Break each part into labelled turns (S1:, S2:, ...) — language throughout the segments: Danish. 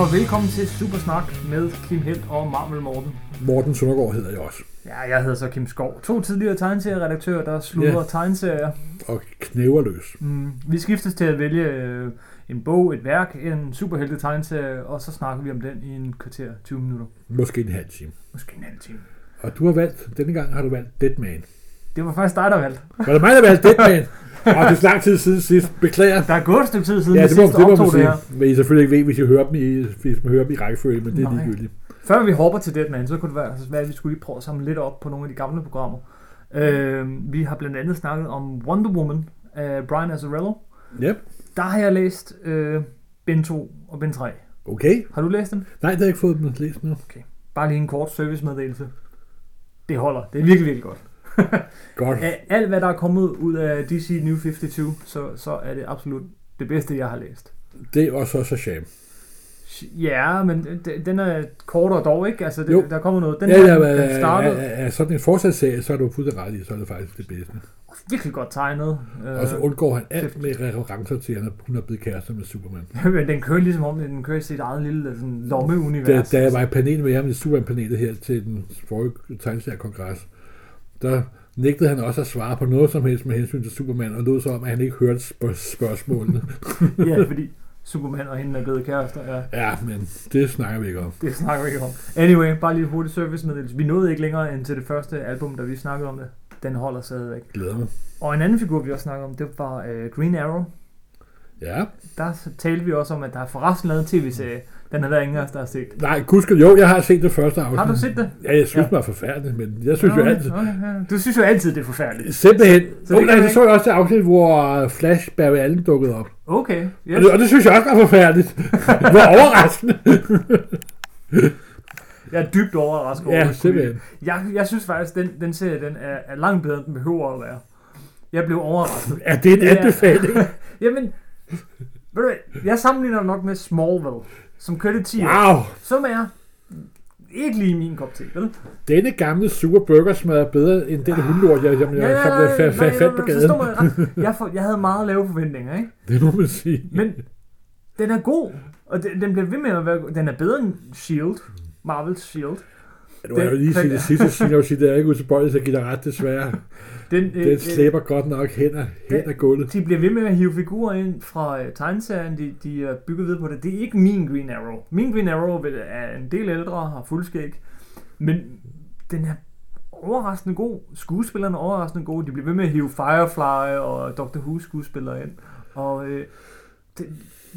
S1: og velkommen til Supersnak med Kim Helt og Marmel Morten.
S2: Morten Søndergaard hedder jeg også.
S1: Ja, jeg hedder så Kim Skov. To tidligere tegneserieredaktører, der slutter yeah.
S2: Ja.
S1: tegneserier.
S2: Og knæverløs.
S1: Mm, vi skiftes til at vælge øh, en bog, et værk, en superhelte tegneserie, og så snakker vi om den i en kvarter, 20 minutter.
S2: Måske en halv time.
S1: Måske en halv time.
S2: Og du har valgt, denne gang har du valgt Deadman.
S1: Det var faktisk dig, der valgte.
S2: Var det mig, der valgte Deadman? Og det er lang tid siden sidst. Beklager.
S1: Der er gået et stykke tid siden,
S2: Ja,
S1: vi
S2: det må,
S1: sidst
S2: det må man
S1: optog det her.
S2: sige. Men I selvfølgelig ikke ved, hvis I hører dem i, hvis man hører dem i rækkefølge, men det er
S1: Nej.
S2: ligegyldigt.
S1: Før vi hopper til Deadman, så kunne det være, være, at vi skulle lige prøve at samle lidt op på nogle af de gamle programmer. Øh, vi har blandt andet snakket om Wonder Woman af Brian Azzarello.
S2: Ja,
S1: Der har jeg læst øh, bind 2 og bind 3.
S2: okay.
S1: Har du læst dem?
S2: Nej, det har jeg ikke fået dem læst nu.
S1: Bare lige en kort servicemeddelelse. Det holder. Det er virkelig, virkelig godt.
S2: Godt.
S1: Af alt, hvad der er kommet ud af DC New 52, så, så er det absolut det bedste, jeg har læst.
S2: Det er også så shame.
S1: Ja, men d- den er kortere dog, ikke? Altså,
S2: Jo.
S1: det, der kommer noget. Den,
S2: Ja,
S1: her,
S2: ja, ja,
S1: den startede
S2: ja, ja, sådan en fortsatserie, så er du fuldstændig ret i, så er det faktisk det bedste.
S1: virkelig godt tegnet. Øh,
S2: Og så undgår han alt
S1: det-
S2: med referencer til, at hun er blevet kærester med Superman.
S1: Men den kører ligesom om, den kører i sit eget lille sådan,
S2: da,
S1: lommeunivers.
S2: da jeg var i panel med ham i Superman-panelet her til den forrige tegneseriekongres, der nægtede han også at svare på noget som helst med hensyn til Superman, og lød så om, at han ikke hørte spørg- spørgsmålene.
S1: ja, fordi Superman og hende er blevet kærester. Ja,
S2: ja, men det snakker vi ikke om.
S1: det snakker vi ikke om. Anyway, bare lige en hurtig servicemeddelelse. Vi nåede ikke længere end til det første album, da vi snakkede om det. Den holder stadigvæk.
S2: Glæder mig.
S1: Og en anden figur, vi også snakkede om, det var øh, Green Arrow.
S2: Ja.
S1: Der s- talte vi også om, at der er forresten lavet en tv-serie. Den har der ingen af os, der har set.
S2: Nej, gudske, jo, jeg har set det første afsnit.
S1: Har du set det?
S2: Ja, jeg synes,
S1: Ja.
S2: ja. det var forfærdeligt, men jeg synes jo
S1: okay,
S2: altid...
S1: okay, ja. Du synes jo altid, det er forfærdeligt.
S2: Simpelthen.
S1: Så
S2: Så
S1: det
S2: det,
S1: kan
S2: nej,
S1: jeg
S2: det så jeg også det afsnit, hvor øh, Flash Barry Allen dukkede op. Yes.
S1: Okay, yes.
S2: Og, det, og det synes jeg også var forfærdeligt. Hvor overraskende.
S1: Jeg er dybt overrasket over
S2: ja,
S1: det. skulle
S2: simpelthen.
S1: jeg- Jeg, jeg synes faktisk, den, den serie den er, er langt bedre, end den behøver at være. Jeg blev overrasket.
S2: Er det en
S1: Det er-
S2: anbefaling?
S1: Jamen, ved du hvad, jeg sammenligner det nok med Smallville, som kørte 10 år,
S2: Wow.
S1: som er ikke lige min kop te, vel?
S2: Denne gamle sure burger smager bedre end
S1: Ah.
S2: den hundlort, jeg, jeg, jeg, jeg, jeg, jeg, jeg, jeg fandt på gaden.
S1: forstår mig ret. Jeg, for, jeg havde meget lave forventninger, ikke?
S2: Det må man sige.
S1: Men den er god, og den, den bliver ved med at være god. Den er bedre end S.H.I.E.L.D., Marvels S.H.I.E.L.D.
S2: Du har jo lige sige det sidste, så jeg jo sige, det er ikke utilbøjelig til at give dig ret, desværre.
S1: Den, øh,
S2: Den slæber godt nok hen ad, hen ad gulvet.
S1: de bliver ved med at hive figurer ind fra øh, tegneserien, de, de er bygget ved på det. Det er ikke min Green Arrow. Min Green Arrow vil- er en del ældre, har fuldskæg, men den er overraskende god. Skuespillerne er overraskende gode. De bliver ved med at hive Firefly og Doctor Who skuespillere ind. Og øh, det,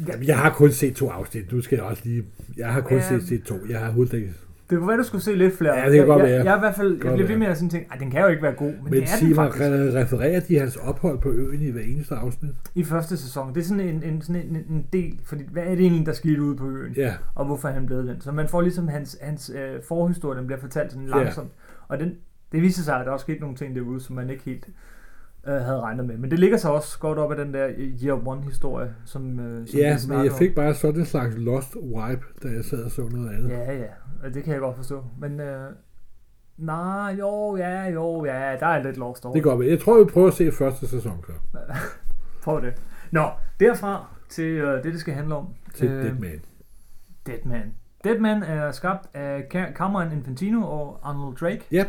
S2: Jamen, jeg har kun set to afsnit. Du skal også lige... Jeg har kun
S1: Ja.
S2: set, set to. Jeg har hovedet ikke...
S1: det kunne være, du skulle se lidt flere.
S2: Ja, det kan
S1: jeg,
S2: godt
S1: jeg,
S2: være.
S1: Jeg, er i hvert fald, jeg
S2: Godt
S1: bliver ved
S2: være.
S1: med at sådan tænke, "Ej, den kan jo ikke være god, men,
S2: Men
S1: det er
S2: sig
S1: den
S2: mig,
S1: faktisk.
S2: re- refererer de hans ophold på øen i hver eneste afsnit?
S1: I første sæson. Det er sådan en, en, sådan en, en del, fordi hvad er det egentlig, der skete ude på øen?
S2: Ja,
S1: og hvorfor han blev den. Så man får ligesom hans, hans øh, forhistorie, den bliver fortalt sådan
S2: Ja.
S1: langsomt. Og den, det viser sig, at der også skete nogle ting derude, som man ikke helt øh, havde regnet med. Men det ligger sig også godt op af den der Year One-historie, som, øh, som
S2: ja
S1: vi
S2: men
S1: snakker
S2: jeg fik bare sådan en slags lost wipe, da jeg sad og så noget
S1: om.
S2: andet.
S1: Ja, ja, og det kan jeg godt forstå. Men øh, nej, jo, ja, jo, ja, der er lidt lost over.
S2: Det går med. Jeg tror, vi prøver at se første sæson så.
S1: Prøv det. Nå, derfra til øh, det, det skal handle om. Øh,
S2: Til Deadman.
S1: Deadman. Deadman er skabt af Ca- Cameron Infantino og Arnold Drake.
S2: Ja,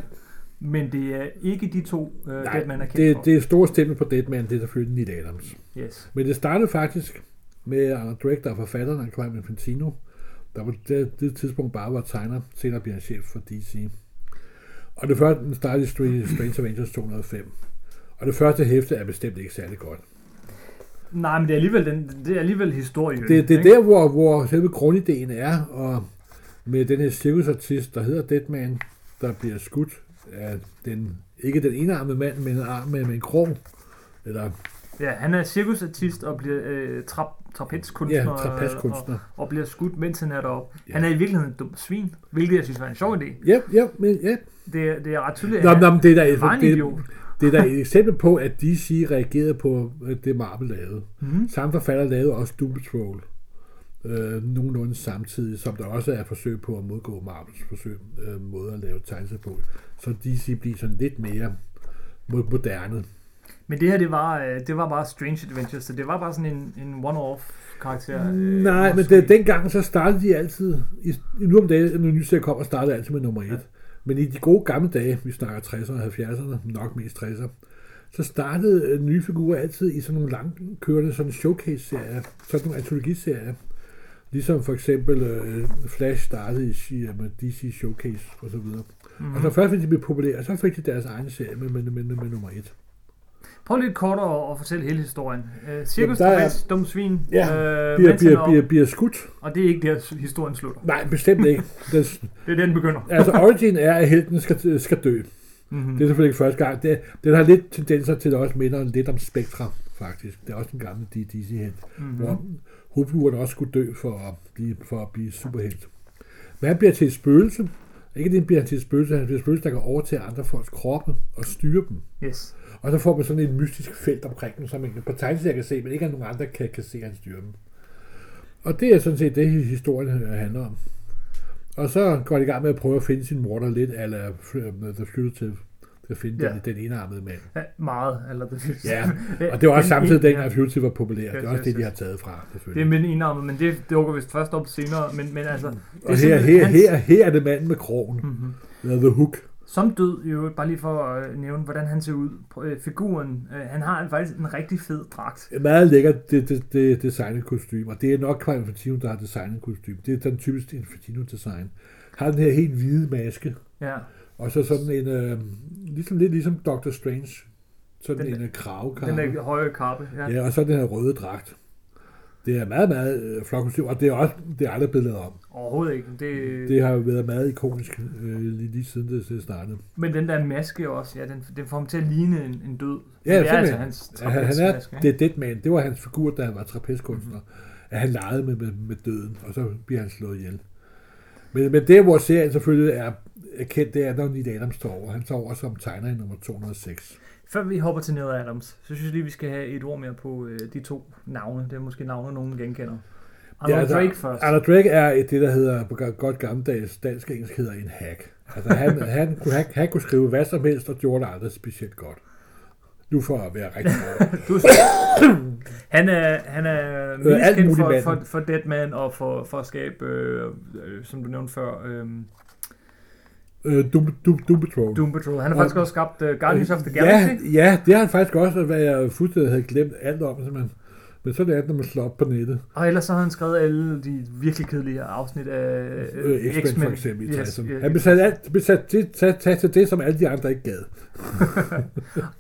S1: Men det er ikke de to, uh, Nej, Deadman er kendt
S2: det,
S1: for.
S2: det er store stemme på Deadman, det er selvfølgelig Neil Adams.
S1: Yes.
S2: Men det startede faktisk med Arnold Drake, der er forfatteren af Clive Infantino, der på det, det tidspunkt bare var tegner, senere bliver han chef for DC. Og det første, den startede i Strange, Strange Avengers 205. Og det første hæfte er bestemt ikke særlig godt.
S1: Nej, men det er alligevel, den, det er alligevel historien.
S2: Det, det er der, hvor, hvor selve grundideen er, og med den her cirkusartist, der hedder Deadman, der bliver skudt af den, ikke den enarmede mand, men en arm med, med en krog, eller
S1: Ja, han er cirkusartist og bliver øh, trap, trapezkunstner,
S2: ja, trapaskunstner.
S1: Og, og bliver skudt, mens han er deroppe. Ja.
S2: Ja.
S1: Han er i virkeligheden et dumt svin, hvilket jeg synes var en sjov idé.
S2: Ja, ja, men ja,
S1: Det, er- det er ret tydeligt,
S2: Nå,
S1: at
S2: nå, men det er da
S1: han var en
S2: det,
S1: idiot.
S2: det er da et eksempel på, at DC reagerede på øh, det, Marvel lavede.
S1: Mhm.
S2: Samme forfatter lavede også Doom Patrol. Øh, nogenlunde samtidig, som der også er forsøg på at modgå Marvels forsøg, øh, måde at lave tegnelser på. Så DC bliver sådan lidt mere mo- moderne.
S1: Men det her, det var, øh, det var bare Strange Adventures, så det var bare sådan en, en one-off karakter. øh,
S2: Nej, men
S1: måske.
S2: det, dengang så startede de altid, i, i nu om dagen, når en ny serie kommer, startede altid med nummer et. Ja. Men i de gode gamle dage, vi snakker 60'erne og 70'erne, nok mest 60'erne, så startede øh, nye figurer altid i sådan nogle langkørende sådan showcase-serier, sådan nogle antologiserier. Ligesom for eksempel øh, Flash startede i, i øh, med DC Showcase og så videre.
S1: Mhm.
S2: Mm. Og så først, når de blev populære, så fik de deres egen serie med, med, med, med nummer et.
S1: Prøv lidt kort at, at fortælle hele historien. Øh, Cirkus,
S2: Jamen, der er-
S1: Jamen, er... dum svin,
S2: Ja,
S1: øh,
S2: Bliver,
S1: Manson
S2: bliver,
S1: og-
S2: bliver, bliver skudt?
S1: og det er ikke der, historien slutter.
S2: Nej, bestemt ikke. Den,
S1: Det er der, den begynder.
S2: altså, origin er, at helten skal, skal dø.
S1: Mm-hmm.
S2: Det er selvfølgelig ikke første gang. Det, den har lidt tendenser til, at det også minder lidt om Spectra, faktisk. Det er også en gammel DC-helt,
S1: Mhm.
S2: mm-hmm. hvor hovedfiguren også skulle dø for at blive, for at blive superhelt. Men han bliver til et spøgelse. Ikke det bliver han til et spøgelse, han bliver et spøgelse, der kan overtage andre folks kroppe og styre dem.
S1: Yes.
S2: Og så får man sådan et mystisk felt omkring dem, som man på tegneserier kan se, men ikke at nogen andre kan, kan se, at han styrer dem. Og det er sådan set det, historien øh, handler om. Og så går de i gang med at prøve at finde sin morder lidt, eller The Fugitive, til at finde
S1: Ja.
S2: ja. den, den enarmede mand.
S1: Ja, meget, eller det synes
S2: Ja, og det var også
S1: Men
S2: samtidig
S1: en-
S2: dengang, at Fugitive var populær. Det er
S1: Yes,
S2: også
S1: yes,
S2: det, de
S1: yes.
S2: har taget fra,
S1: Det er
S2: selvfølgelig.
S1: med den enarmede, men det dukker vist først op senere. Men, men altså, det er
S2: Og her,
S1: simpelthen
S2: her,
S1: hans-
S2: her, her er det manden med krogen,
S1: Mhm.
S2: eller The Hook.
S1: Som død, i øvrigt, bare lige for at øh, nævne, hvordan han ser ud. På, øh, figuren, øh, han har en, faktisk en rigtig fed dragt.
S2: Et meget lækkert det, det, det designet kostume, og det er nok Quentin Infantino, der har designet kostume. Det er den typiske Infantino design. Har den her helt hvide maske,
S1: Ja,
S2: og så sådan en, øh, ligesom, lidt ligesom Doctor Strange, sådan
S1: Den
S2: den, en øh, kravekar.
S1: den der høje kappe. Ja.
S2: Ja, og så den her røde dragt. Det er meget, meget øh, flot kostume, og det er også det er aldrig blevet lavet om.
S1: Mm. Overhovedet ikke. Det, det.
S2: Det har jo været meget ikonisk øh, lige, lige siden det, det startede.
S1: Men den der maske også, ja, den, den får ham til at ligne en, en død. det
S2: Ja,
S1: er
S2: simpelthen.
S1: altså hans
S2: Ja, han, han er
S1: trapezmaske.
S2: The
S1: ikke? Mm-hmm.
S2: Dead Man. Det var hans figur, da han var trapezkunstner. At han legede med, med, med døden, og så bliver han slået ihjel. Men, men det, hvor serien selvfølgelig er, er kendt, det er, når Neil Adams tager over. Han tager over som tegner i nummer 206.
S1: Før vi hopper til Neil Adams, så synes jeg lige, vi skal have et ord mere på øh, de to navne. Det er måske navne, nogen genkender. Arnold ja,
S2: altså,
S1: Drake først.
S2: Arthur Drake er et, det, der hedder på go- godt gammeldags dansk og engelsk hedder en hack. Altså, han, han, kunne, han, han kunne skrive hvad som helst, og gjorde det aldrig specielt godt. Nu for at være rigtig godt.
S1: Du, han er, han er mest
S2: Øh, alt
S1: kendt
S2: muligt
S1: for,
S2: manden.
S1: for, for Deadman og for, for at skabe, øh, øh, som du nævnte før, øh,
S2: øh, Doom, Doom, Doom Patrol.
S1: Doom Patrol. Han har
S2: Oh. Og-
S1: faktisk også skabt øh, Guardians of the Galaxy.
S2: Ja, ja, det har han faktisk også, hvad jeg fuldstændig havde glemt alt om. Simpelthen. Men sådan er det, når man slår op på nettet.
S1: Og ellers så har han skrevet alle de virkelig kedelige afsnit af
S2: Øh,
S1: øh,
S2: X-Men, for eksempel i
S1: Yes,
S2: 60'erne.
S1: yes.
S2: Han blev sat, alt, blev sat til, sat, sat til det, som alle de andre ikke gad.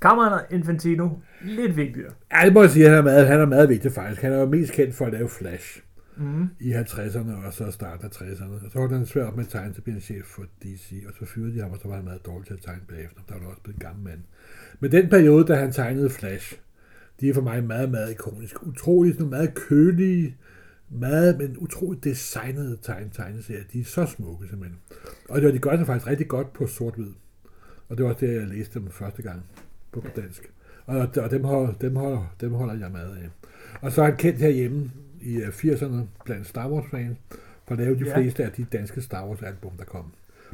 S1: Cameron Infantino, lidt vigtigere.
S2: Ja, det må jeg sige, han er meget, han er meget vigtig faktisk. Han er jo mest kendt for at lave Flash
S1: Mm.
S2: i 50'erne og så starten af 60'erne. Og så var han svært op med at tegne, så blev han chef for DC, og så fyrede de ham, og så var han meget dårlig til at tegne bagefter. Der var han også blevet en gammel mand. Men den periode, da han tegnede Flash, de er for mig meget, meget ikonisk. Utroligt, sådan nogle meget kølige, meget, men utroligt designede tegn, tegneserier. De er så smukke, simpelthen. Og det, de gør sig faktisk rigtig godt på sort-hvid. Og det var også det, jeg læste dem første gang på, på dansk. Og, og dem, holder, dem, holder, dem holder jeg meget af. Og så er han kendt herhjemme i øh, 80'erne blandt Star Wars-fans, for at lave de
S1: Ja.
S2: ja. fleste af de danske Star Wars-album, der kom.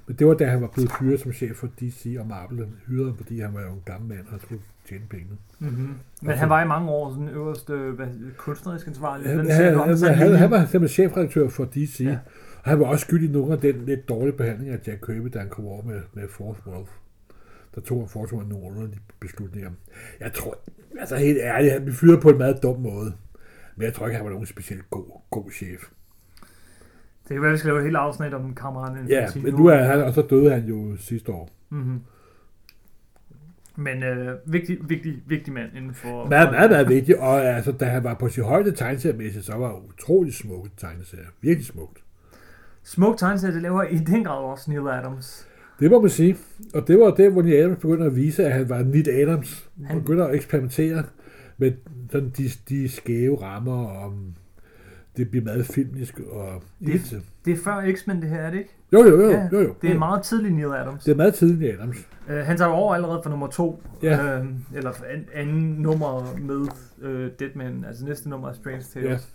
S2: Men det var da han var blevet fyret som chef for DC og Marvel, hyrede ham, fordi han var jo en gammel mand og skulle tjene penge.
S1: Mm-hmm. Men han var i mange år sådan øverste hvad, kunstnerisk ansvarlig.
S2: Han,
S1: Den
S2: han,
S1: serie,
S2: han,
S1: hvor
S2: han,
S1: sad
S2: han,
S1: lige-
S2: han var simpelthen chefredaktør for DC,
S1: Ja.
S2: ja. og han var også skyldig i nogle af den lidt dårlige behandling af Jack Kirby, da han kom over med, med Force World. Der tog han Force World nogle underlige beslutninger. Jeg tror, altså helt ærligt, han blev fyret på en meget dum måde. Men jeg tror ikke, han var nogen specielt god, god chef.
S1: Det kan være, vi skal lave et helt afsnit om Cameron
S2: Ja,
S1: Infantino.
S2: men nu er han, og så døde han jo sidste år.
S1: Mm-hmm. Men øh, vigtig, vigtig, vigtig mand inden for...
S2: Meget, meget, meget vigtigt, og altså, da han var på sin højde tegneseriemæssigt, så var det utrolig smukt tegneserie. Virkelig smukt.
S1: Smuk tegneserie, det laver i den grad også Neil Adams.
S2: Det må man sige. Og det var det, hvor Neil Adams begyndte at vise, at han var Neil Adams. Han
S1: Han-
S2: begyndte at eksperimentere med sådan de, de skæve rammer, og det bliver meget filmisk. Og det...
S1: Det er før X-Men, det her, er det ikke?
S2: Jo, jo, jo,
S1: Ja,
S2: jo, jo.
S1: Det er en meget tidlig Neil Adams.
S2: det er meget tidligt, Neil Adams.
S1: Øh, han tager over allerede fra nummer to.
S2: Ja.
S1: Øh, eller for an, anden nummer med øh, Deadman, altså næste nummer er Strange Tales.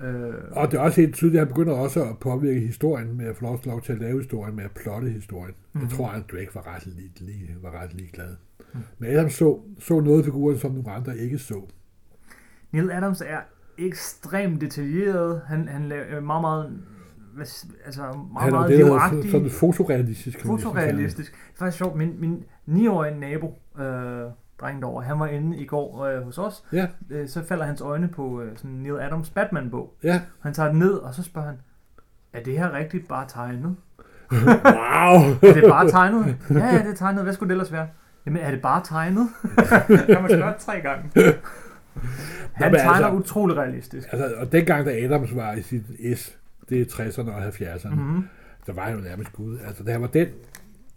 S1: Ja. Øh,
S2: Og det er også helt tydeligt, at han begynder også at påvirke historien med at få
S1: mm. Mhm.
S2: lov, lov til at lave historien, med at plotte historien. Mm-hmm. Jeg tror, at Drake var ret, lige, lige, var ret ligeglad. Men Adams så, så noget af figuren, som nogle andre ikke så.
S1: Neil Adams er ekstremt detaljeret. Han, han laver øh, meget, meget, hvad s- altså meget,
S2: Han er jo
S1: meget
S2: det, der hedder
S1: livagtig,
S2: sådan fotorealistisk. kan man næsten kalde det.
S1: fotorealistisk. Det er faktisk sjovt, min, min 9-årige nabo, øh, drengen derovre, han var inde i går øh, hos os.
S2: Ja,
S1: Øh, så falder hans øjne på øh, sådan en Neil Adams Batman-bog.
S2: ja.
S1: Han tager den ned, og så spørger han, er det her rigtigt bare tegnet?
S2: Wow!
S1: Er det bare tegnet? Ja, ja, det er tegnet. Hvad skulle det ellers være? Jamen, er det bare tegnet? kan man spørge tre gange. Han
S2: Nå, men
S1: tegner
S2: altså-
S1: utrolig realistisk.
S2: altså, og dengang, da Adams var i sit S, det er 60'erne og 70'erne, mm-hmm.
S1: Mm-hmm.
S2: der var han jo nærmest Gud. Altså, der var den,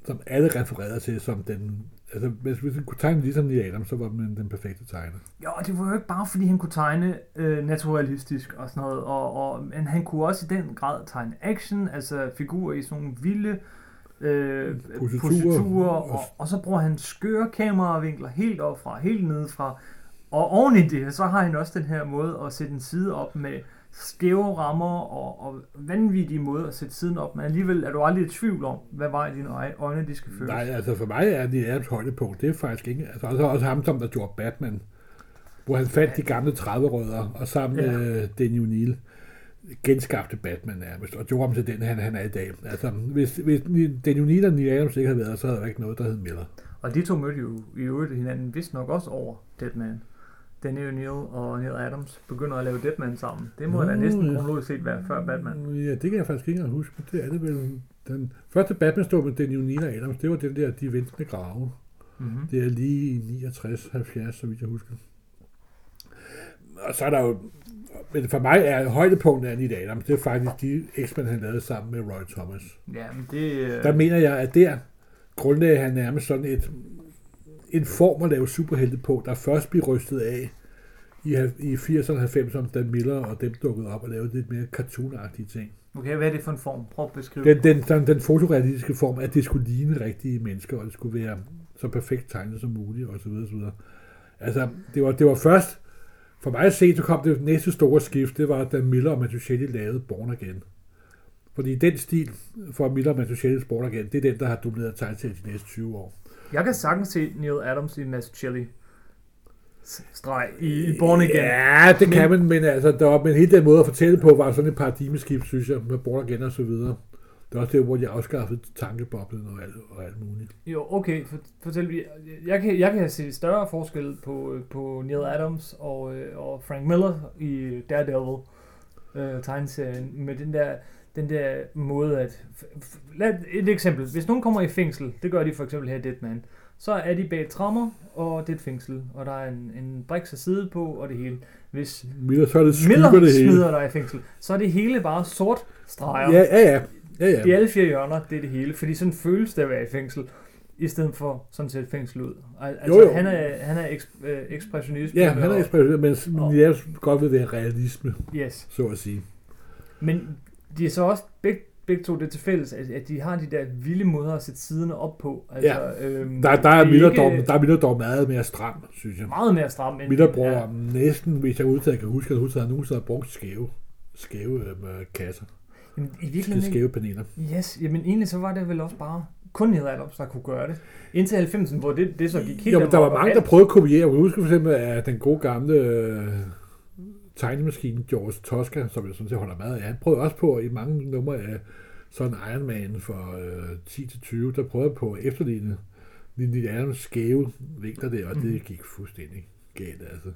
S2: som alle refererede til, som den... Altså, hvis, hvis man kunne tegne ligesom i Adam, så var man den perfekte tegner.
S1: Jo, og det var jo ikke bare, fordi han kunne tegne øh, naturalistisk og sådan noget, og, og, men han kunne også i den grad tegne action, altså figurer i sådan nogle vilde øh,
S2: Positurer.
S1: positurer, og, og så bruger han skøre kameravinkler helt op fra, helt ned fra, og oven i det, så har han også den her måde at sætte en side op med skæve rammer og, og vanvittige måder at sætte siden op, men alligevel er du aldrig i tvivl om, hvad vej dine øje- øjne de skal føre.
S2: Nej, altså for mig er det Adams højdepunkt, det er faktisk ikke... Altså, og så også ham, som der gjorde Batman, hvor han fandt de gamle 30-rødder, og sammen med ja. øh, Danny O'Neill genskabte Batman nærmest, og gjorde ham til den, han, han er i dag. Altså, hvis, hvis Danny O'Neill og Neil Adams ikke havde været, så havde der ikke noget, der hed Miller.
S1: Og de to mødte jo i øvrigt hinanden, vist nok også over Deadman. Danny O'Neill og Neil Adams begynder at lave Deadman sammen. Det må
S2: Nå,
S1: da næsten
S2: ja.
S1: kronologisk set være før Batman.
S2: Mm, Ja, det kan jeg faktisk ikke engang huske. Det er det vel. Den første batman stod med den Nina Adams, det var den der De Ventende Grave.
S1: Mm-hmm.
S2: Det er lige i 69-70, så vidt jeg husker. Og så er der jo... Men for mig er højdepunktet af Nina Adams, det er faktisk de X-Men, han lavede sammen med Roy Thomas.
S1: Ja, men det... øh,
S2: Der mener jeg, at der grundlagde han nærmest sådan et, en form at lave superhelte på, der først blev rystet af i, i 80'erne og 90'erne, da Miller og dem dukkede op og lavede lidt mere cartoonagtige ting.
S1: Okay, hvad er det for en form? Prøv at beskrive
S2: Den, den, den, den fotorealistiske form, at det skulle ligne rigtige mennesker, og det skulle være så perfekt tegnet som muligt, og så videre, så videre. Altså, det var, det var først, for mig at se, så kom det næste store skift, det var, da Miller og Mazzucchelli lavede Born Again. Fordi den stil for Miller og Mazzucchellis Born Again, det er den, der har domineret tegneserien de næste 20 år.
S1: Jeg kan sagtens se Neil Adams i Mass Chili. Streg i, i Born Again.
S2: Ja, det kan man, men altså, der var, men hele den måde at fortælle på, var sådan et paradigmeskift, synes jeg, med Born Again og så videre. Det er også det, hvor de afskaffede tankeboblen og alt, og alt muligt.
S1: Jo, okay, for, fortæl lige. Jeg kan, jeg kan se større forskel på, øh, på Neil Adams og, øh, og Frank Miller i Daredevil øh, tegneserien med den der, den der måde at... f- f- Lad et eksempel. Hvis nogen kommer i fængsel, det gør de for eksempel her i Deadman, så er de bag trammer, og det er et fængsel, og der er en, en briks af side på, og det hele. Hvis
S2: Miller, så er det skygger
S1: Miller
S2: det hele.
S1: smider dig i fængsel, så er det hele bare sort streger.
S2: Ja, ja, ja. ja, ja.
S1: I alle fire hjørner, det er det hele. Fordi sådan føles det at være i fængsel, i stedet for sådan set fængsel ud. Al- Altså,
S2: Jo, jo.
S1: han er, han er eks- øh, ekspressionist.
S2: ja han er
S1: og-
S2: ekspressionist, men men jeg godt vil være realisme,
S1: Yes.
S2: så at sige.
S1: Men de er så også begge, begge to det til fælles, at, at de har de der vilde måder at sætte siderne op på. Altså, ja. øhm,
S2: Der, der
S1: det
S2: er Miller
S1: ikke
S2: dog, der er Miller dog meget mere stram, synes jeg.
S1: meget mere stram end...
S2: Miller bruger ja. næsten, hvis jeg udtager, kan huske, at han har nogensinde har brugt skæve, skæve øhm, kasser.
S1: Jamen, I
S2: Skæve,
S1: virkeligheden ikke.
S2: skæve paneler.
S1: Yes, jamen egentlig så var det vel også bare kun Neil Adams, der kunne gøre det. Indtil 90'erne, hvor det, det så gik helt
S2: Jo, men der
S1: amok,
S2: var
S1: og
S2: mange,
S1: alt-
S2: der prøvede at kopiere. Jeg kan huske for eksempel, at den gode gamle øh, tegnemaskine George Tosca, som jeg sådan set holder meget af, han prøvede også på i mange numre af sådan Iron Man for øh, 10-20, der prøvede på at efterligne Lille Adams skæve vinkler der, og
S1: Mm.
S2: det gik fuldstændig galt, altså.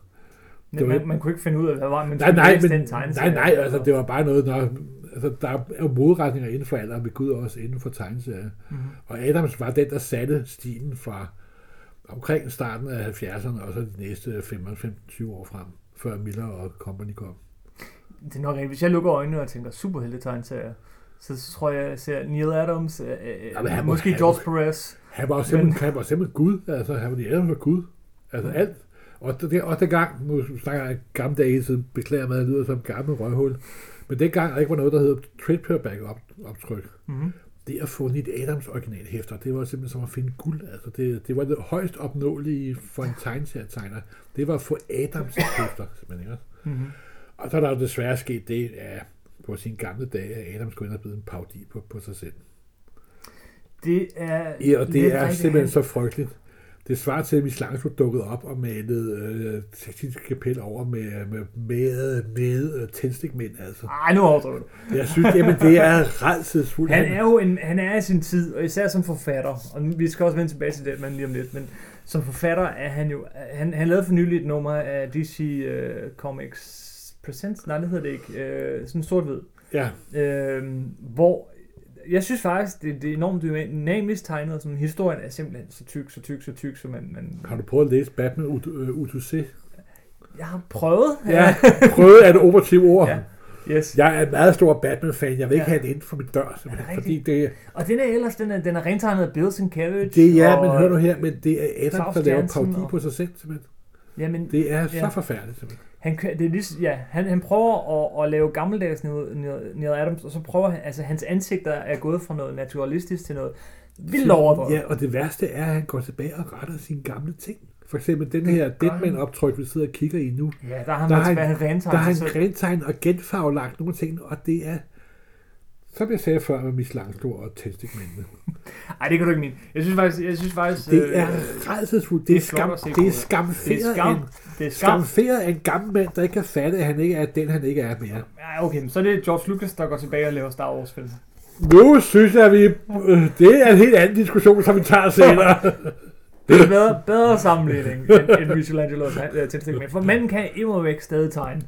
S1: Men man, man, kunne ikke finde ud af, hvad var man
S2: Nej,
S1: skulle
S2: nej,
S1: læse
S2: men,
S1: den
S2: nej,
S1: tegneserie.
S2: nej, altså det var bare noget, når, altså, der er jo modretninger inden for alderen, ved Gud også inden for tegneserier.
S1: Mhm.
S2: Og Adams var den, der satte stilen fra omkring starten af 70'erne, og så de næste 15-20 år frem, før Miller og Company kom.
S1: Det er nok rigtigt. Hvis jeg lukker øjnene og tænker superheltetegnserier, så så tror jeg, jeg ser Neil Adams, øh, øh,
S2: Jamen, han må-
S1: måske
S2: han-
S1: George Perez.
S2: Han var jo simpelthen, han var simpelthen Gud, altså han var Adams var Gud, altså alt. Og, det, og dengang, nu snakker jeg gamle dage hele tiden, beklager mig, at jeg lyder som en gammel røghul, men dengang der ikke var noget, der hed trade op, optryk.
S1: Mm-hmm.
S2: Det at få Nit Adams originalhæfter, det var simpelthen som at finde guld. Altså det, det var det højst opnåelige for en tegneserietegner. Det var at få Adams hæfter, simpelthen. Ikke? også?
S1: Mm-hmm.
S2: Og så er der jo desværre sket det, at på sine gamle dage, at Adams skulle ind og blive en parodi på, på sig selv.
S1: Det er...
S2: Ja, og det
S1: lidt
S2: er
S1: rigtigt.
S2: simpelthen så frygteligt. Det svarer til, at Michelangelo dukkede op og malede øh, Sixtinske kapel over med, med, med, med øh, tændstikmænd, altså.
S1: Ej, nu overdriver du.
S2: Jeg synes, jamen, det er redselsfuldt.
S1: Han er jo en, han er i sin tid, og især som forfatter, og nu- vi skal også vende tilbage til det, men lige om lidt, men som forfatter er han jo, han, han lavede for nylig et nummer af DC uh, Comics Presents, nej det hedder det ikke, uh, sådan sort-hvid,
S2: Ja,
S1: uh, hvor jeg synes faktisk, det, det er enormt dynamisk tegnet, som historien er simpelthen så tyk, så tyk, så tyk, så man, man
S2: har du prøvet at læse Batman Ut- øh, Utuse?
S1: jeg har prøvet.
S2: Ja, prøvet er et operativt ord.
S1: Ja. Yes.
S2: Jeg er en meget stor Batman-fan. Jeg vil ikke
S1: Ja.
S2: have det inden for min dør, simpelthen,
S1: Er det
S2: fordi det,
S1: Og den er ellers, den er, den er rentegnet af Bill Sienkiewicz.
S2: det er, ja,
S1: og-
S2: men hør nu her, men det er Adam,
S1: Claus
S2: der laver
S1: Jensen
S2: parodi
S1: og-
S2: på sig selv, simpelthen.
S1: Jamen,
S2: Det er så
S1: Ja.
S2: forfærdeligt, simpelthen.
S1: Han, kører- det er lige, ja, han, han prøver at, at lave gammeldags Neil, Neil, Neil Adams, og så prøver han, altså hans ansigter er gået fra noget naturalistisk til noget vildt overdrevet.
S2: Ja, og det værste er, at han går tilbage og retter sine gamle ting. For eksempel den her Deadman-optryk, vi sidder og kigger i nu.
S1: ja, der har
S2: Der
S1: man
S2: har
S1: tilbage, han
S2: Der
S1: rentegner
S2: har
S1: sig
S2: han
S1: selv.
S2: græntegn og genfarvelagt nogle ting, og det er, som jeg sagde før med Michelangelo og tændstikmændene.
S1: Ej, det kan du ikke mene. Jeg synes faktisk, jeg synes faktisk øh,
S2: Det er redselsfuldt. Det er,
S1: det er flot
S2: skam,
S1: at se på, ja.
S2: det er
S1: det er
S2: skamferet af
S1: skam.
S2: en
S1: Det er skam.
S2: Skamferet af en gammel mand, der ikke kan fatte, at han ikke er den, han ikke er mere.
S1: Ja, okay, men så er det George Lucas, der går tilbage og laver Star Wars film.
S2: Nu synes jeg, vi... øh, Det er en helt anden diskussion, som vi tager senere.
S1: Det er bedre, bedre sammenligning end, end Michelangelo's øh, tændstik med. For manden kan imodvæk stadig tegne.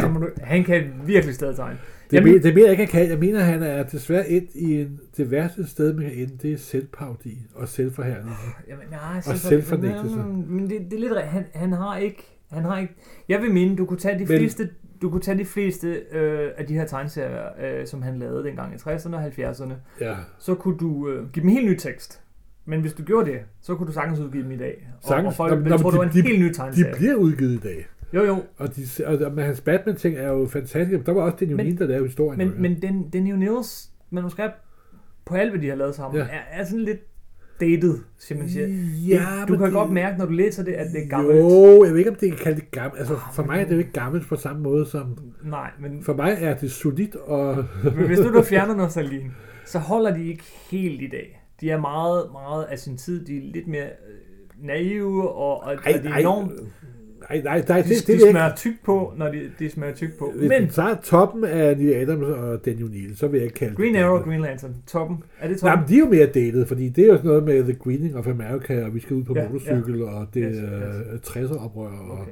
S1: Så må du- Han kan virkelig stadig tegne.
S2: Det,
S1: Jamen-
S2: men, det mener jeg ikke, han kan. Jeg mener, han er desværre endt i en, det værste sted, man kan ende. Det er selvpaudi og selvforhærdelse.
S1: Jamen, nej,
S2: selvfornægtelse.
S1: Men det, det er lidt rigtigt. han, han har ikke... Han har ikke... Jeg vil mene, du kunne tage de
S2: Men-
S1: fleste, du kunne tage de fleste øh, af de her tegneserier, øh, som han lavede dengang i 60'erne og 70'erne.
S2: Ja.
S1: Så kunne du øh, give dem helt ny tekst. Men hvis du gjorde det, så kunne du sagtens udgive dem i dag. Og, og
S2: Sagtens.
S1: folk
S2: Nå,
S1: ville
S2: nå,
S1: tro,
S2: men
S1: det var en
S2: de- de-
S1: helt ny
S2: De
S1: tegneserie.
S2: bliver udgivet i dag.
S1: Jo, jo.
S2: Og, de, og, og men hans Batman-ting er jo fantastisk. Men Der var også den
S1: Men-
S2: Junin, der lavede historien. jo,
S1: Men,
S2: ja.
S1: men den, den New Nils manuskript på alt, hvad de har lavet sammen,
S2: Ja.
S1: er, er sådan lidt dated, siger man siger.
S2: ja,
S1: du
S2: men
S1: kan
S2: det-
S1: godt mærke, når du læser det, at det er gammelt. Ah,
S2: Jo, jeg ved ikke, om det kan kalde det gammelt. Altså, for mig er det jo ikke gammelt på samme måde som...
S1: Nej, men
S2: For mig er det solidt og
S1: Men hvis nu du fjerner nostalgien, så holder de ikke helt i dag. De er meget, meget af sin tid. De er lidt mere øh, naive, og, og, og de er enormt...
S2: Nej, nej, nej,
S1: De,
S2: det, det,
S1: de
S2: det er
S1: smører tyk på, når de, de smører tyk på.
S2: ikke. Hvis
S1: Men
S2: den tager toppen af Neil Adams og Daniel Neal, så vil jeg ikke kalde
S1: Green
S2: det.
S1: Arrow,
S2: Green
S1: Green Lantern, toppen. Er det
S2: Nej,
S1: toppen?
S2: men de er jo mere datet, fordi det er jo sådan noget med The Greening of America, og vi skal ud på
S1: Ja,
S2: ja, motorcykel, ja. og det
S1: Yes,
S2: er yes, 60'er oprør, og,
S1: Okay.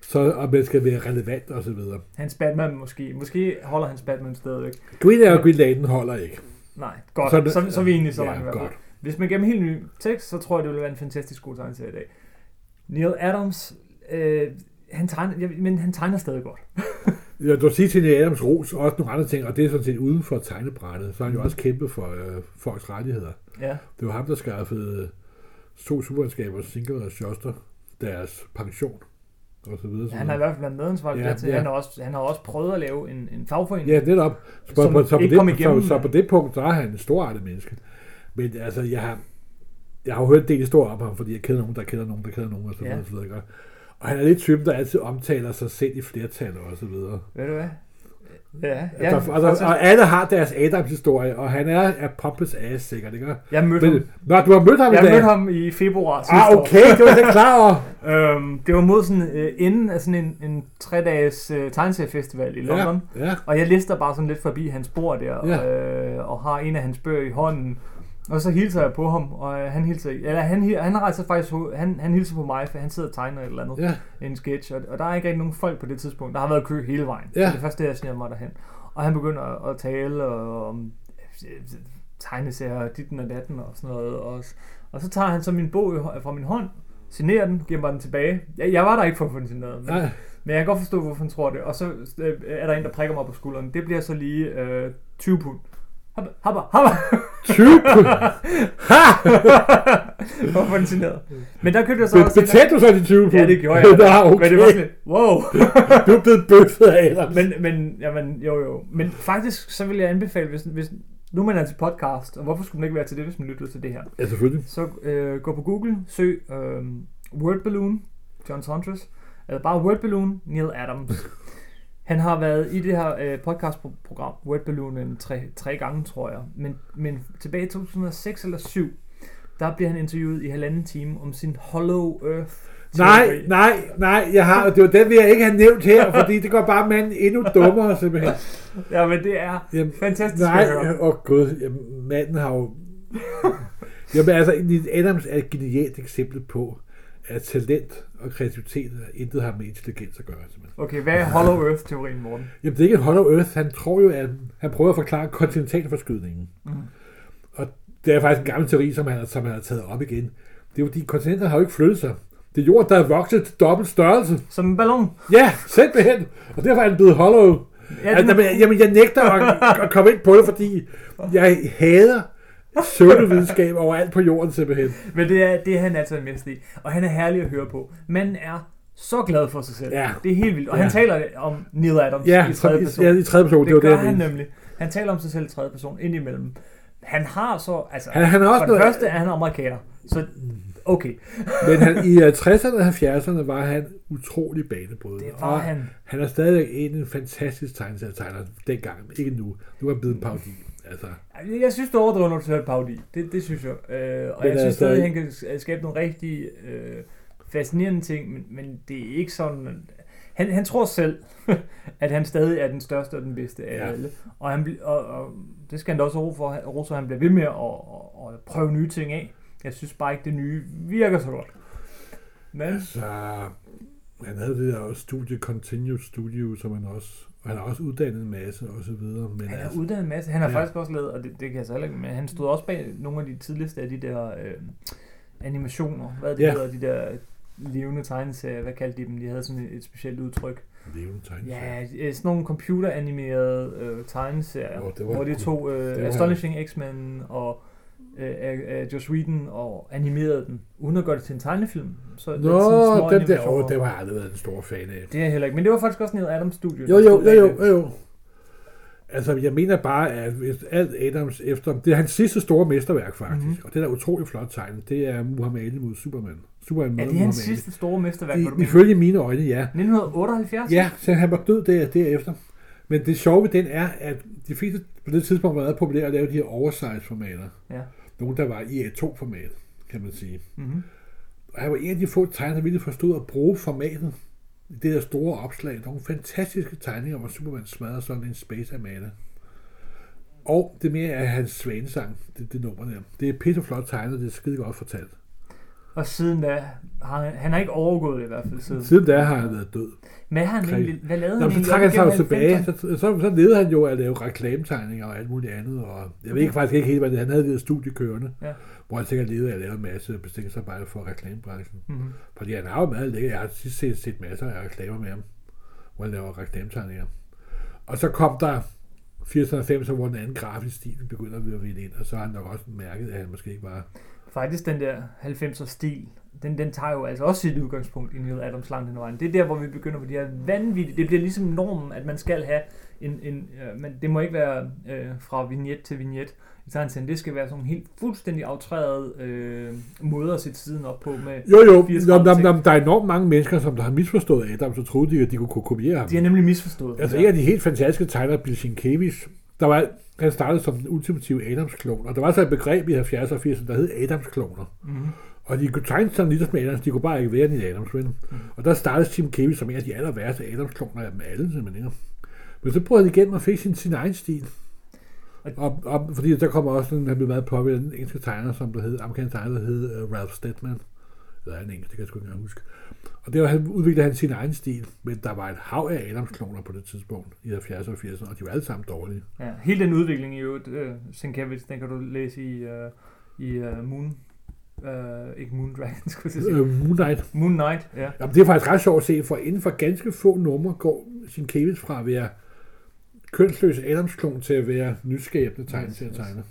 S2: så, og man skal være relevant og så videre.
S1: Hans Batman måske. Måske holder hans Batman stadigvæk.
S2: Green Arrow og Green Lantern holder ikke.
S1: Nej, godt.
S2: Sådan-
S1: Så, så, så er vi egentlig så
S2: ja,
S1: langt i hvert fald.
S2: godt.
S1: Hvis man gav dem helt ny tekst, så tror jeg, det ville være en fantastisk god tegneserie i dag. Neil Adams, øh, han tegner, jeg- men han tegner stadig godt.
S2: Jeg vil sige til Neil Adams Ros også nogle andre ting, og det er sådan set uden for tegnebrættet, så har han
S1: Mm.
S2: jo også kæmpet for øh, folks rettigheder.
S1: Ja.
S2: Det var ham, der skaffede to superskaber, Singer og Schuster, deres pension og så videre.
S1: Ja, han har i hvert fald været medansvarlig
S2: Ja,
S1: ja, til.
S2: ja.
S1: Han, har også, han har også prøvet at lave en, en fagforening.
S2: Ja, netop. Så, på-
S1: Som
S2: på, så, på
S1: ikke kom
S2: det,
S1: igennem.
S2: så, så på det punkt, der er han en storartet menneske. Men altså, jeg har, jeg har jo hørt en del historier om ham, fordi jeg kender nogen, der kender nogen, der kender nogen, og så
S1: Ja.
S2: videre, og så videre. ikke? Og han er lidt typen, der altid omtaler sig selv i flertal og så videre.
S1: Ved du hvad? Ja,
S2: Ja,
S1: ja
S2: altså, altså, og alle har deres Adams-historie, og han er, er pompous ass sikkert, ikke?
S1: jeg mødte
S2: Men,
S1: ham.
S2: nå, du har mødt ham
S1: Jeg
S2: i dag?
S1: mødte ham i februar sidste
S2: Ah, okay, det var jeg da klar over.
S1: år. Øhm, det var mod sådan, øh, enden af sådan en, en tre-dages øh, tegneseriefestival i London. Ja.
S2: Ja, ja.
S1: Og jeg lister bare sådan lidt forbi hans bord der,
S2: Ja.
S1: øh, og har en af hans bøger i hånden. Og så hilser jeg på ham, og øh, han hilser ikke. Eller han, hi- han rejser faktisk ho- han, han hilser på mig, for han sidder og tegner et eller andet.
S2: ja.
S1: en sketch, og, og der er ikke rigtig nogen folk på det tidspunkt. Der har været kø hele vejen.
S2: Ja.
S1: Det er det første, jeg sniger mig derhen. Og han begynder at, at tale og, om øh, tegneserier og ditten og datten og sådan noget. Og, og så tager han så min bog i hå- fra min hånd, signerer den, giver mig den tilbage. Jeg, jeg var der ikke for at få den signeret, men,
S2: Nej.
S1: men jeg kan godt forstå, hvorfor han tror det. Og så øh, er der en, der prikker mig på skulderen. Det bliver så lige øh, 20 pund. Hoppa, hoppa, hoppa.
S2: 20 pund. Ha!
S1: Hvorfor den signeret? Men der købte jeg så
S2: Be-
S1: også... en-
S2: Betalte du så de 20 pund?
S1: Ja, det gjorde jeg.
S2: Nå, okay.
S1: Men det var sådan lidt, wow.
S2: Du er blevet bøffet af Adams.
S1: Men, men, jamen, jo, jo. Men faktisk, så vil jeg anbefale, hvis, hvis nu man er til podcast, og hvorfor skulle man ikke være til det, hvis man lyttede til det her?
S2: Ja, selvfølgelig.
S1: Så øh, gå på Google, søg øh, Word Balloon, John Saunders, eller bare Word Balloon, Neil Adams. Han har været i det her øh, podcastprogram, Word Balloon, en tre, tre gange, tror jeg. Men, men tilbage i 2006 eller 7, der bliver han interviewet i halvanden time om sin Hollow Earth.
S2: Nej, nej, nej, jeg har, det var den, jeg ikke have nævnt her, fordi det gør bare manden endnu dummere, simpelthen.
S1: Ja, men det er
S2: Jamen,
S1: fantastisk
S2: Nej,
S1: at høre.
S2: åh oh gud, jamen, manden har jo... Jamen altså, Neil Adams er et genialt eksempel på, at talent og kreativitet intet har med intelligens at gøre. Simpelthen.
S1: Okay, hvad er Hollow Earth-teorien, Morten?
S2: Jamen det er ikke en hollow earth, han tror jo, at han prøver at forklare kontinentalforskydningen. Mm. Og det er faktisk en gammel teori, som han, som han har taget op igen. Det er jo, fordi kontinenter har jo ikke flyttet sig. Det er jord, der er vokset til dobbelt størrelse.
S1: Som en ballon.
S2: Ja, simpelthen. Og derfor er den blevet hollow.
S1: Ja,
S2: Ja,
S1: den-
S2: altså, men, jamen, jeg nægter at, at komme ind på det, fordi jeg hader pseudovidenskab overalt på jorden simpelthen.
S1: Men det er, det er han altså en mester i. Og han er herlig at høre på. Manden er så glad for sig selv.
S2: Ja.
S1: Det er helt vildt. Og
S2: Ja.
S1: han taler om Neil Adams
S2: Ja,
S1: i tredje person.
S2: ja, i tredje person
S1: det,
S2: det,
S1: det
S2: var
S1: gør
S2: det,
S1: han
S2: jeg mente.
S1: nemlig. Han taler om sig selv i tredje person indimellem. Han har så... Altså,
S2: Han, han er også
S1: for det
S2: noget,
S1: første er han amerikaner. Så okay,
S2: men han, i øh, 60'erne og 70'erne var han utrolig banebrydende.
S1: det var
S2: Og
S1: han.
S2: han er stadigvæk en, en fantastisk tegneserietegner dengang. Ikke nu. Nu er han blevet en parodi. Altså,
S1: Jeg synes, du overdriver, når du hører parodi. Det, det synes jeg. Øh, og
S2: Men
S1: jeg synes
S2: altså-
S1: stadig, han kan s- skabe nogle rigtig øh, fascinerende ting, men, men det er ikke sådan... øh, Han, han tror selv, at han stadig er den største og den bedste af ja.
S2: Ja.
S1: alle. Og, han, bl- og, og det skal han da også ro for, Rosa, han bliver ved med at og, og prøve nye ting af. Jeg synes bare ikke, det nye virker så godt. Men
S2: Så han havde det der studie, Continued Studio, som han også, og han har også uddannet en masse og så videre. Men
S1: Han har
S2: altså,
S1: uddannet en masse. Han har ja.
S2: Ja.
S1: faktisk også lavet, og det, det kan jeg så heller ikke, men han stod også bag nogle af de tidligste af de der øh, animationer. Hvad det
S2: Ja.
S1: hedder, de der levende tegneserier, hvad kaldte de dem? De havde sådan et, et specielt udtryk.
S2: levende tegneserie.
S1: Ja, øh, sådan nogle computeranimerede øh, tegneserier,
S2: Åh, det var-
S1: hvor de to øh,
S2: det var-
S1: Astonishing X-Men og øh, øh, øh, Joss Whedon og animerede den, uden at gøre det til en tegnefilm. Så det er
S2: Nå,
S1: sådan små
S2: den der,
S1: animationer.
S2: åh, det var jeg aldrig været en stor fan af.
S1: det er jeg heller ikke, men det var faktisk også Neil Adams studie.
S2: Jo,
S1: der
S2: jo,
S1: stod
S2: jo,
S1: bag
S2: jo,
S1: det.
S2: jo, jo. Altså, jeg mener bare, at hvis alt Adams efter... Det er hans sidste store mesterværk, faktisk.
S1: Mhm.
S2: Mm-hmm. Og det der er utrolig flot tegnet, det er Muhammad Ali mod Superman. Superman
S1: Ja,
S2: mod
S1: det er hans
S2: Muhammad Ali.
S1: sidste store mesterværk, hvor du
S2: I,
S1: mener.
S2: ifølge mine øjne, ja.
S1: 1978?
S2: Ja, så han var død der, derefter. Men det sjove ved den er, at de fleste på det tidspunkt var meget populære at lave de her oversize-formater.
S1: Ja.
S2: Nogle, der var i A2-format, kan man sige.
S1: Mm-hmm.
S2: Og han var en af de få tegnere, der virkelig forstod at bruge formatet i det der store opslag. Nogle fantastiske tegninger, hvor Superman smadrer sådan en space amata. Og det mere er hans svanesang, det, det nummer der. Det er pisseflot tegnet, det er skide godt fortalt.
S1: Og siden da, har han, han har ikke overgået det i hvert fald siden.
S2: Siden da har han været død.
S1: Men har han
S2: Kræ-
S1: egentlig, hvad lavede
S2: Nå,
S1: han
S2: men så
S1: egentlig?
S2: trak han sig jo
S1: op igennem
S2: tilbage, så, så, så levede han jo at lave reklametegninger og alt muligt andet, og jeg ved ikke faktisk ikke helt, hvad det Han havde det der studie kørende,
S1: Ja.
S2: hvor han sikkert levede af at lave en masse bestillingsarbejde for reklamebranchen.
S1: 90'erne? Mhm.
S2: Fordi han har jo meget lækker. Jeg har sidst set, set masser af reklamer med ham, hvor han laver reklametegninger. Og så kom der 8090, hvor den anden grafisk stil begynder at vinde ind, og så har han nok også mærket, at han måske ikke var...
S1: Faktisk den der 90'er stil, den, den tager jo altså også sit udgangspunkt i Neil Adams langt hen ad vejen. Det er der, hvor vi begynder på de her vanvittige, det bliver ligesom normen, at man skal have en, en øh, men det må ikke være øh, fra vignet til vignet i tegneserien. Det skal være sådan nogle helt fuldstændig aftrærede øh, måder at sætte siden op på med
S2: Jo, jo,
S1: 80
S2: nom, nom,
S1: grader
S2: nom, der er enormt mange mennesker, som der har misforstået Adam, så troede de, at de kunne kopiere ham.
S1: de har nemlig misforstået.
S2: Altså
S1: det der.
S2: en af de helt fantastiske tegnere, Bill Sienkiewicz, der var, han startede som den ultimative Adams-klon, og der var så et begreb i 70'erne og 80'erne, der hed Adams-kloner.
S1: Mhm.
S2: Og de kunne tegne sådan lidt som Adams, de kunne bare ikke være en Adams ven. Mm. Og der startede Tim Kevin som en af de aller værste Adams-kloner af dem alle, simpelthen. ikke? Men så prøvede han igennem og fik sin, sin egen stil.
S1: Og-
S2: Og, og, fordi der kommer også en, han blev meget påvirket af den engelske tegner, som der hed, amerikansk tegner, der hed uh, Ralph Steadman. Eller han engelsk, det kan jeg sgu ikke engang huske. Og der han, udviklede han sin egen stil, men der var et hav af Adams-kloner på det tidspunkt, i 70'erne og 80'erne, og de var alle sammen dårlige.
S1: Ja, hele den udvikling i øvrigt, øh, Sienkiewicz, den kan du læse i, øh, i øh, Moon, øh, ikke Moon Dragon, skulle jeg til at sige,
S2: Øh, Moon Knight
S1: Moon Knight, ja.
S2: Jamen, det er faktisk ret sjovt at se, for inden for ganske få numre går sin Kevins fra at være kønsløs Adamsklon til at være nyskabende tegneserietegner.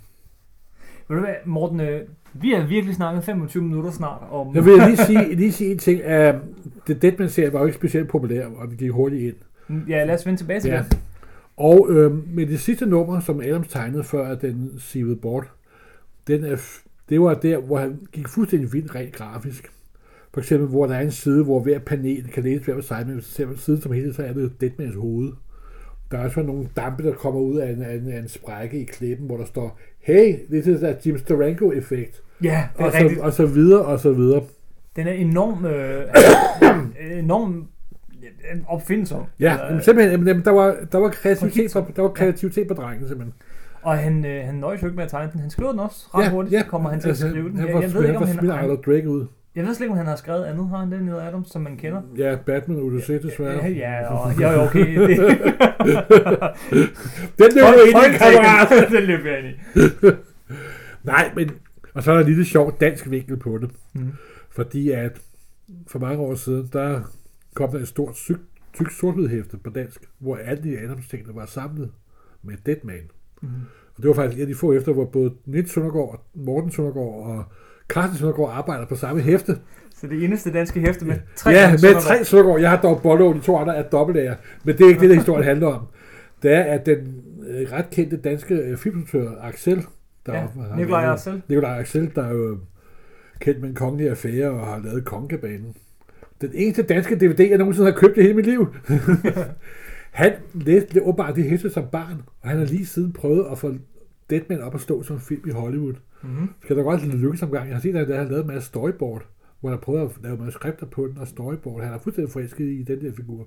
S1: Ved du hvad, Morten, øh, vi har virkelig snakket 25 minutter snart om...
S2: Jeg vil lige sige, lige sige en ting. Uh, The Deadman-serie var jo ikke specielt populær, og den gik hurtigt ind.
S1: Ja, lad os vende tilbage til ja.
S2: Ja.
S1: det.
S2: Og øh, med det sidste nummer, som Adams tegnede før at den sivede bort, den er, f- det var der, hvor han gik fuldstændig vildt rent grafisk. For eksempel, hvor der er en side, hvor hver panel kan læses hver for sig, men hvis du ser på siden som helhed, så er det jo Deadmans hoved. Der er også nogle dampe, der kommer ud af en, af en, af en sprække i klippen, hvor der står, hey, this is a Jim Steranko effect.
S1: Ja, det er
S2: og så,
S1: rigtigt.
S2: og så videre, og så videre.
S1: Den er enorm, øh, enorm øh, opfindsom.
S2: Ja,
S1: Eller,
S2: jamen, simpelthen, jamen, jamen, der, var, der var kreativitet,
S1: Præcis.
S2: på, der var kreativitet på drengen, simpelthen.
S1: og han, øh, han nøjes jo ikke med at tegne den. Han skriver den også ret ja, hurtigt, ja, kommer han til at skrive den.
S2: Altså, Han
S1: Jeg,
S2: var,
S1: jeg, ved ikke, om han,
S2: smidt
S1: han,
S2: Arlo Drake ud.
S1: jeg ved slet ikke, om han har skrevet andet. Har han den Neil Adams, som man kender?
S2: Ja, Batman Odyssey, desværre.
S1: Ja, ja, og, ja jo, okay. Det,
S2: Den løb jo ind i en kammerat!
S1: Folketagen, den løb jeg ind i.
S2: Nej, men... Og så er der en lille sjov dansk vinkel på det.
S1: Mhm.
S2: Fordi at for mange år siden, der kom der et stort tyk, tyk sorthvidhæfte på dansk, hvor alle de adams tingene var samlet med Deadman.
S1: Mhm.
S2: Og det var faktisk et af de få efter, hvor både Nils Søndergaard, Morten Søndergaard og Carsten Søndergaard arbejder på samme hæfte.
S1: Så det eneste danske hæfte med tre
S2: ja,
S1: gange
S2: med
S1: Søndergaard.
S2: tre Søndergaard. Jeg har dog Bollo, de to andre er dobbeltlager. Men det er ikke det, der historien handler om. Det er, at den øh, ret kendte danske øh, filminstruktør Axel, der
S1: Ja,
S2: har
S1: Nikolaj
S2: lavet-
S1: Axel.
S2: Nikolaj Axel, der er jo øh, kendt med en kongelig affære og har lavet Kongebanen. Den eneste danske DVD, jeg nogensinde har købt i hele mit liv. han læste det åbenbart det hæfte som barn, og han har lige siden prøvet at få Deadman op at stå som film i Hollywood.
S1: Mhm.
S2: Skal der godt lidt lykkes omgang. Jeg har set, at han har lavet en masse storyboard, hvor han har prøvet at lave manuskripter på den og storyboard. Han er fuldstændig forelsket i den der figur.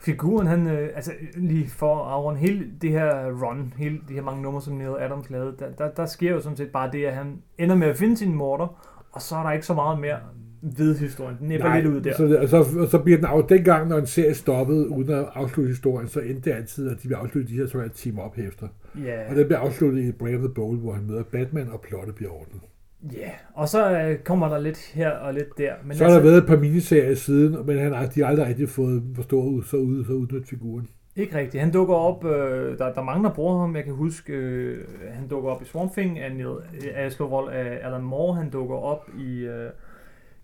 S1: Figuren, han, øh, altså lige for at afrunde hele det her run, hele de her mange numre, som Neil Adams lavede, der, der, der sker jo sådan set bare det, at han ender med at finde sin morter, og så er der ikke så meget mere ved historien. Den næpper lidt ud der.
S2: Så, og så, og så bliver den af, dengang, når en serie stoppede uden at afslutte historien, så endte det altid, at de vil afslutte de her såkaldte team up hæfter.
S1: Ja,
S2: Og den bliver afsluttet i Brave the Bold, hvor han møder Batman, og plottet bliver ordnet.
S1: ja. Og så øh, kommer der lidt her og lidt der. Men altså-
S2: så har der været et par miniserier siden, men han har, de har aldrig rigtig fået forstået ud, så ud, så udnyttet figuren.
S1: Ikke rigtigt. Han dukker op, øh, der, der er mange, der bruger ham. Jeg kan huske, øh, han dukker op i Swamp Thing af, Neil, af Slovold af Alan Moore. Han dukker op i, øh,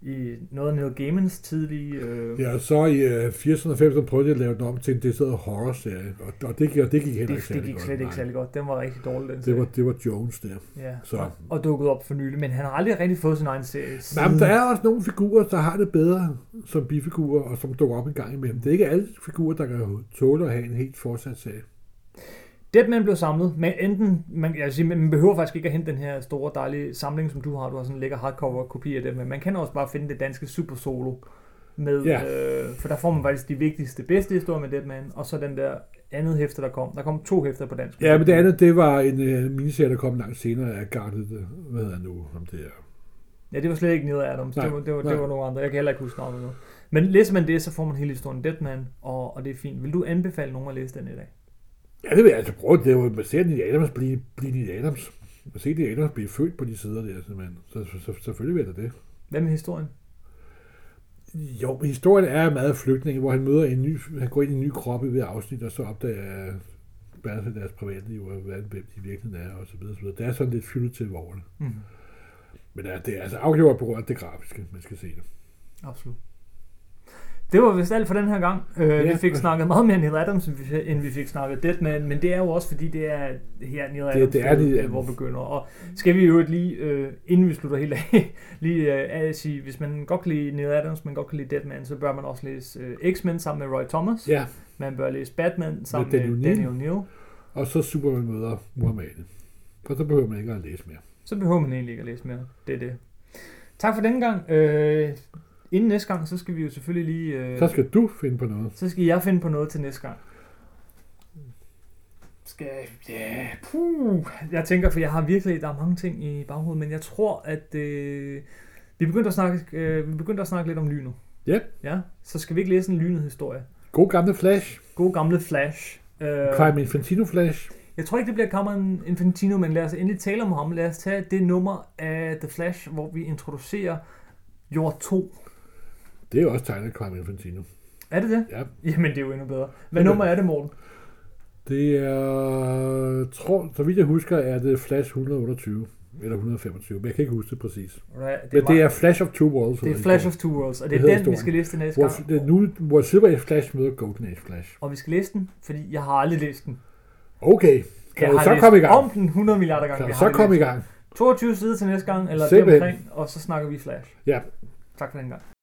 S1: i noget af Neil Gaimans tidlige... Øh,
S2: Ja, og så i øh, 80'erne og 90'erne prøvede de at lave den om til en decideret horror-serie, og, og det, gik, og det gik heller
S1: det,
S2: ikke
S1: det
S2: særlig
S1: gik
S2: godt.
S1: slet
S2: Nej.
S1: ikke særlig godt. Den var rigtig dårlig, den
S2: Det var,
S1: serie.
S2: det var Jones der.
S1: ja.
S2: Så.
S1: Og, og dukkede op for nylig, men han har aldrig rigtig fået sin egen serie.
S2: Nej, men
S1: siden.
S2: der er også nogle figurer, der har det bedre som bifigurer, og som dukker op en gang imellem. Det er ikke alle figurer, der kan tåle at have en helt fortsat serie.
S1: Deadman blev samlet, men enten, man, jeg vil sige, man behøver faktisk ikke at hente den her store dejlige samling, som du har. Du har sådan en lækker hardcover kopi af Deadman. Man kan også bare finde det danske Super Solo, med,
S2: Ja.
S1: øh, for der får man faktisk de vigtigste, bedste historier med Deadman, og så den der andet hæfte, der kom. Der kom to hæfter på dansk.
S2: Ja, men det andet, det var en øh, miniserie, der kom langt senere af Garnet, øh, hvad hedder han nu, om det er.
S1: Ja, det var slet ikke Neil Adams.
S2: Nej,
S1: det, var, det, var,
S2: nej.
S1: det var nogle andre. Jeg kan heller ikke huske navnet nu. Men læser man det, så får man hele historien Deadman, og, og det er fint. Vil du anbefale nogen at læse den i dag?
S2: Ja, det vil jeg altså prøve. Det var at se Neil Adams blive, blive Neil Adams. At se Neil Adams blive født på de sider der, simpelthen. Så, så, så selvfølgelig vil jeg da det.
S1: Hvad med historien?
S2: Jo, men historien er meget af flygtninge, hvor han møder en ny, han går ind i en ny krop i hver afsnit, og så opdager Bertel deres privatliv, og hvad, hvem de virkelig er, og så videre, så videre. Det er sådan lidt fyldt til over det.
S1: Mm.
S2: Men det er, det er altså afgjort på grund af det grafiske, man skal se det.
S1: Absolut. Det var vist alt for den her gang. Øh, ja.
S2: Ja.
S1: Vi fik snakket meget mere Neil Adams, end vi- end vi fik snakket Deadman, men det er jo også fordi, det er her Neil Adams,
S2: det er
S1: hvor-
S2: Neil
S1: øh, hvor
S2: Adams.
S1: begynder. Og skal vi jo lige, øh, inden vi slutter helt af, lige øh, at sige, hvis man godt kan lide Neil Adams, man godt kan lide Deadman, så bør man også læse øh, X-Men sammen med Roy Thomas.
S2: Ja,
S1: Man bør læse Batman sammen
S2: Danny
S1: med
S2: O'Neill.
S1: Danny O'Neill.
S2: og så Superman møder Muhammad. Og så behøver man ikke at læse mere.
S1: Så behøver man egentlig ikke at læse mere. Det er det. Tak for denne gang. Øh, inden næste gang, så skal vi jo selvfølgelig lige... Øh,
S2: Så skal du finde på noget.
S1: Så skal jeg finde på noget til næste gang. Skal ja, puh. Jeg tænker, for jeg har virkelig, der er mange ting i baghovedet, men jeg tror, at øh, vi begyndte at snakke, øh, vi begyndte at snakke lidt om lynet.
S2: Ja.
S1: Ja, så skal vi ikke læse en lynet historie.
S2: God gamle Flash.
S1: God gamle Flash. Øh,
S2: Crime Infantino Flash.
S1: jeg tror ikke, det bliver Cameron Infantino, men lad os endelig tale om ham. Lad os tage det nummer af The Flash, hvor vi introducerer Jord 2.
S2: Det er jo også tegnet af Crime Infantino.
S1: Er det det?
S2: Ja,
S1: Jamen, det er jo endnu bedre. Hvad
S2: Jamen.
S1: nummer er det, Morten?
S2: det er, tror, så vidt jeg husker, er det Flash 128 eller 125, men jeg kan ikke huske det præcis.
S1: Alright,
S2: Men det
S1: mig-
S2: er Flash of Two Worlds.
S1: Det er
S2: hedder
S1: Flash of Two Worlds, og det er
S2: Det hedder
S1: den, vi
S2: historien.
S1: skal læse til næste
S2: hvor,
S1: gang.
S2: det er nu, hvor Silver Age Flash møder Golden Age Flash.
S1: Og vi skal læse den, fordi jeg har aldrig læst den.
S2: Okay,
S1: Jeg
S2: kan vi
S1: har
S2: så
S1: læst
S2: komme i gang?
S1: om den 100 milliarder gange.
S2: Kan vi så komme i gang?
S1: 22 sider til næste gang, eller
S2: Simpelthen.
S1: deromkring, og så snakker vi Flash.
S2: Ja.
S1: Tak for den gang.